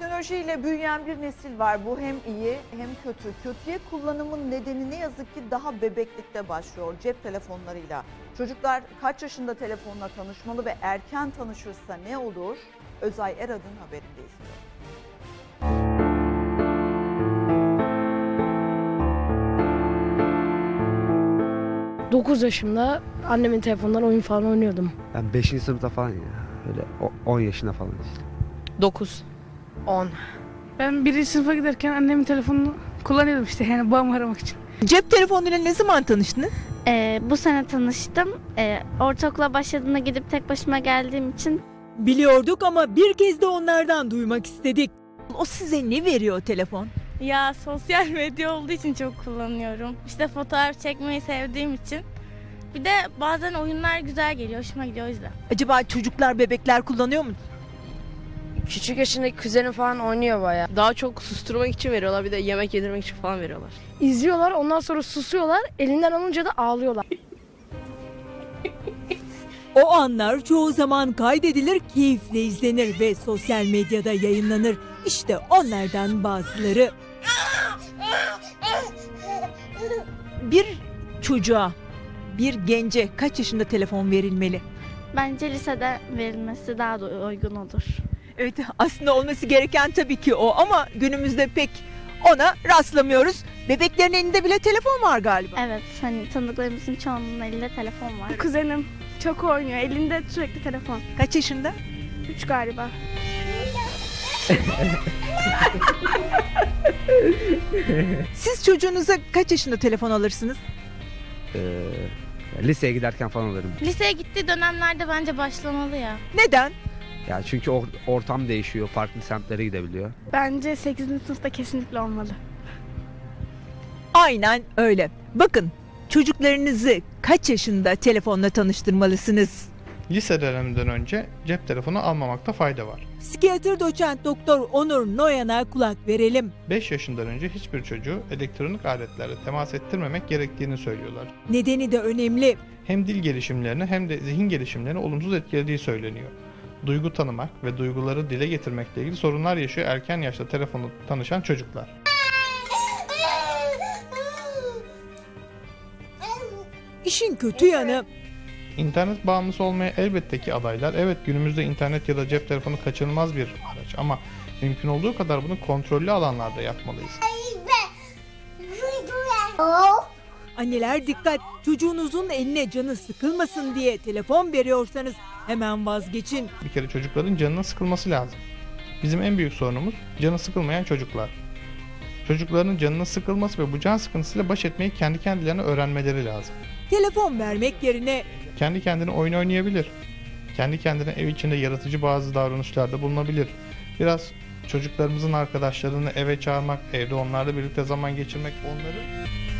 Teknolojiyle büyüyen bir nesil var. Bu hem iyi hem kötü. Kötüye kullanımın nedeni ne yazık ki daha bebeklikte başlıyor cep telefonlarıyla. Çocuklar kaç yaşında telefonla tanışmalı ve erken tanışırsa ne olur? Özay Erad'ın haberinde izliyoruz. Dokuz yaşımda annemin telefonundan oyun falan oynuyordum. Ben 5. sınıfta falan ya. Öyle 10 yaşında falan işte. 9. 10. Ben birinci sınıfa giderken annemin telefonunu kullanıyordum işte yani babamı aramak için. Cep telefonuyla ne zaman tanıştınız? Ee, bu sene tanıştım. Ee, ortaokula başladığında gidip tek başıma geldiğim için Biliyorduk ama bir kez de onlardan duymak istedik. O size ne veriyor telefon? Ya sosyal medya olduğu için çok kullanıyorum. İşte fotoğraf çekmeyi sevdiğim için. Bir de bazen oyunlar güzel geliyor, hoşuma gidiyor o yüzden. Acaba çocuklar, bebekler kullanıyor mu? Küçük yaşındaki kuzenim falan oynuyor baya. Daha çok susturmak için veriyorlar bir de yemek yedirmek için falan veriyorlar. İzliyorlar ondan sonra susuyorlar elinden alınca da ağlıyorlar. O anlar çoğu zaman kaydedilir, keyifle izlenir ve sosyal medyada yayınlanır. İşte onlardan bazıları. Bir çocuğa, bir gence kaç yaşında telefon verilmeli? bence lisede verilmesi daha da uygun olur. Evet aslında olması gereken tabii ki o ama günümüzde pek ona rastlamıyoruz. Bebeklerin elinde bile telefon var galiba. Evet, hani tanıdıklarımızın çoğunun elinde telefon var. Kuzenim çok oynuyor, elinde sürekli telefon. Kaç yaşında? 3 galiba. Siz çocuğunuza kaç yaşında telefon alırsınız? Ee, liseye giderken falan alırım. Liseye gittiği dönemlerde bence başlamalı ya. Neden? Ya çünkü or- ortam değişiyor. Farklı semtlere gidebiliyor. Bence 8. sınıfta kesinlikle olmalı. Aynen öyle. Bakın çocuklarınızı kaç yaşında telefonla tanıştırmalısınız? Lise döneminden önce cep telefonu almamakta fayda var. Psikiyatr doçent doktor Onur Noyan'a kulak verelim. 5 yaşından önce hiçbir çocuğu elektronik aletlerle temas ettirmemek gerektiğini söylüyorlar. Nedeni de önemli. Hem dil gelişimlerini hem de zihin gelişimlerini olumsuz etkilediği söyleniyor. Duygu tanımak ve duyguları dile getirmekle ilgili sorunlar yaşıyor erken yaşta telefonla tanışan çocuklar. İşin kötü yanı İnternet bağımlısı olmaya elbette ki adaylar. Evet günümüzde internet ya da cep telefonu kaçınılmaz bir araç ama mümkün olduğu kadar bunu kontrollü alanlarda yapmalıyız. Anneler dikkat çocuğunuzun eline canı sıkılmasın diye telefon veriyorsanız hemen vazgeçin. Bir kere çocukların canının sıkılması lazım. Bizim en büyük sorunumuz canı sıkılmayan çocuklar. Çocukların canının sıkılması ve bu can sıkıntısıyla baş etmeyi kendi kendilerine öğrenmeleri lazım. Telefon vermek yerine Kendi kendine oyun oynayabilir. Kendi kendine ev içinde yaratıcı bazı davranışlarda bulunabilir. Biraz çocuklarımızın arkadaşlarını eve çağırmak, evde onlarla birlikte zaman geçirmek onları